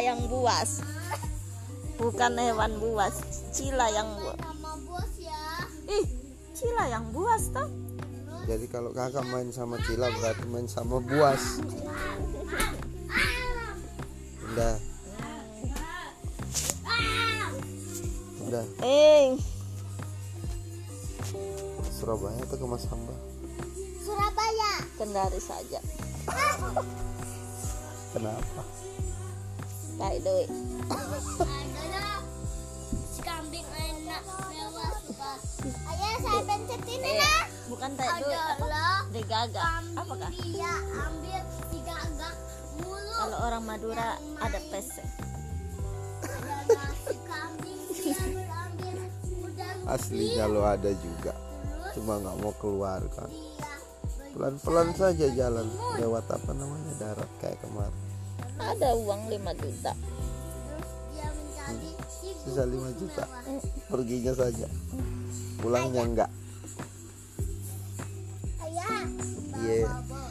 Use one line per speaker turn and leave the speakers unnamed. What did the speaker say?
yang buas
Ah,
bukan hewan buas cila yang buas
sama bos ya
ih cila yang buas toh
Jadi kalau kakak main sama Cila berarti main sama Buas. Udah,
Ah,
udah
eh
Surabaya atau ke Mas Hamba?
Surabaya Ah.
kendari saja
Kenapa?
cari duit
adalah si kambing enak mewah suka ayah saya pencet ini lah
bukan cari duit apa
adalah
degaga apakah
kambing dia ambil tiga gak mulu
kalau orang Madura ada
ada
pese
nasi kambing dia ambil udang
Asli Jalo ada juga,
terus
cuma nggak mau keluar kan.
dia
Pelan-pelan saja jalan lewat apa namanya darat kayak kemarin.
ada uang 5 juta
terus dia mencari si
Sisa 5 juta. Perginya saja. Pulangnya enggak.
ayah
Iya.
bawa kan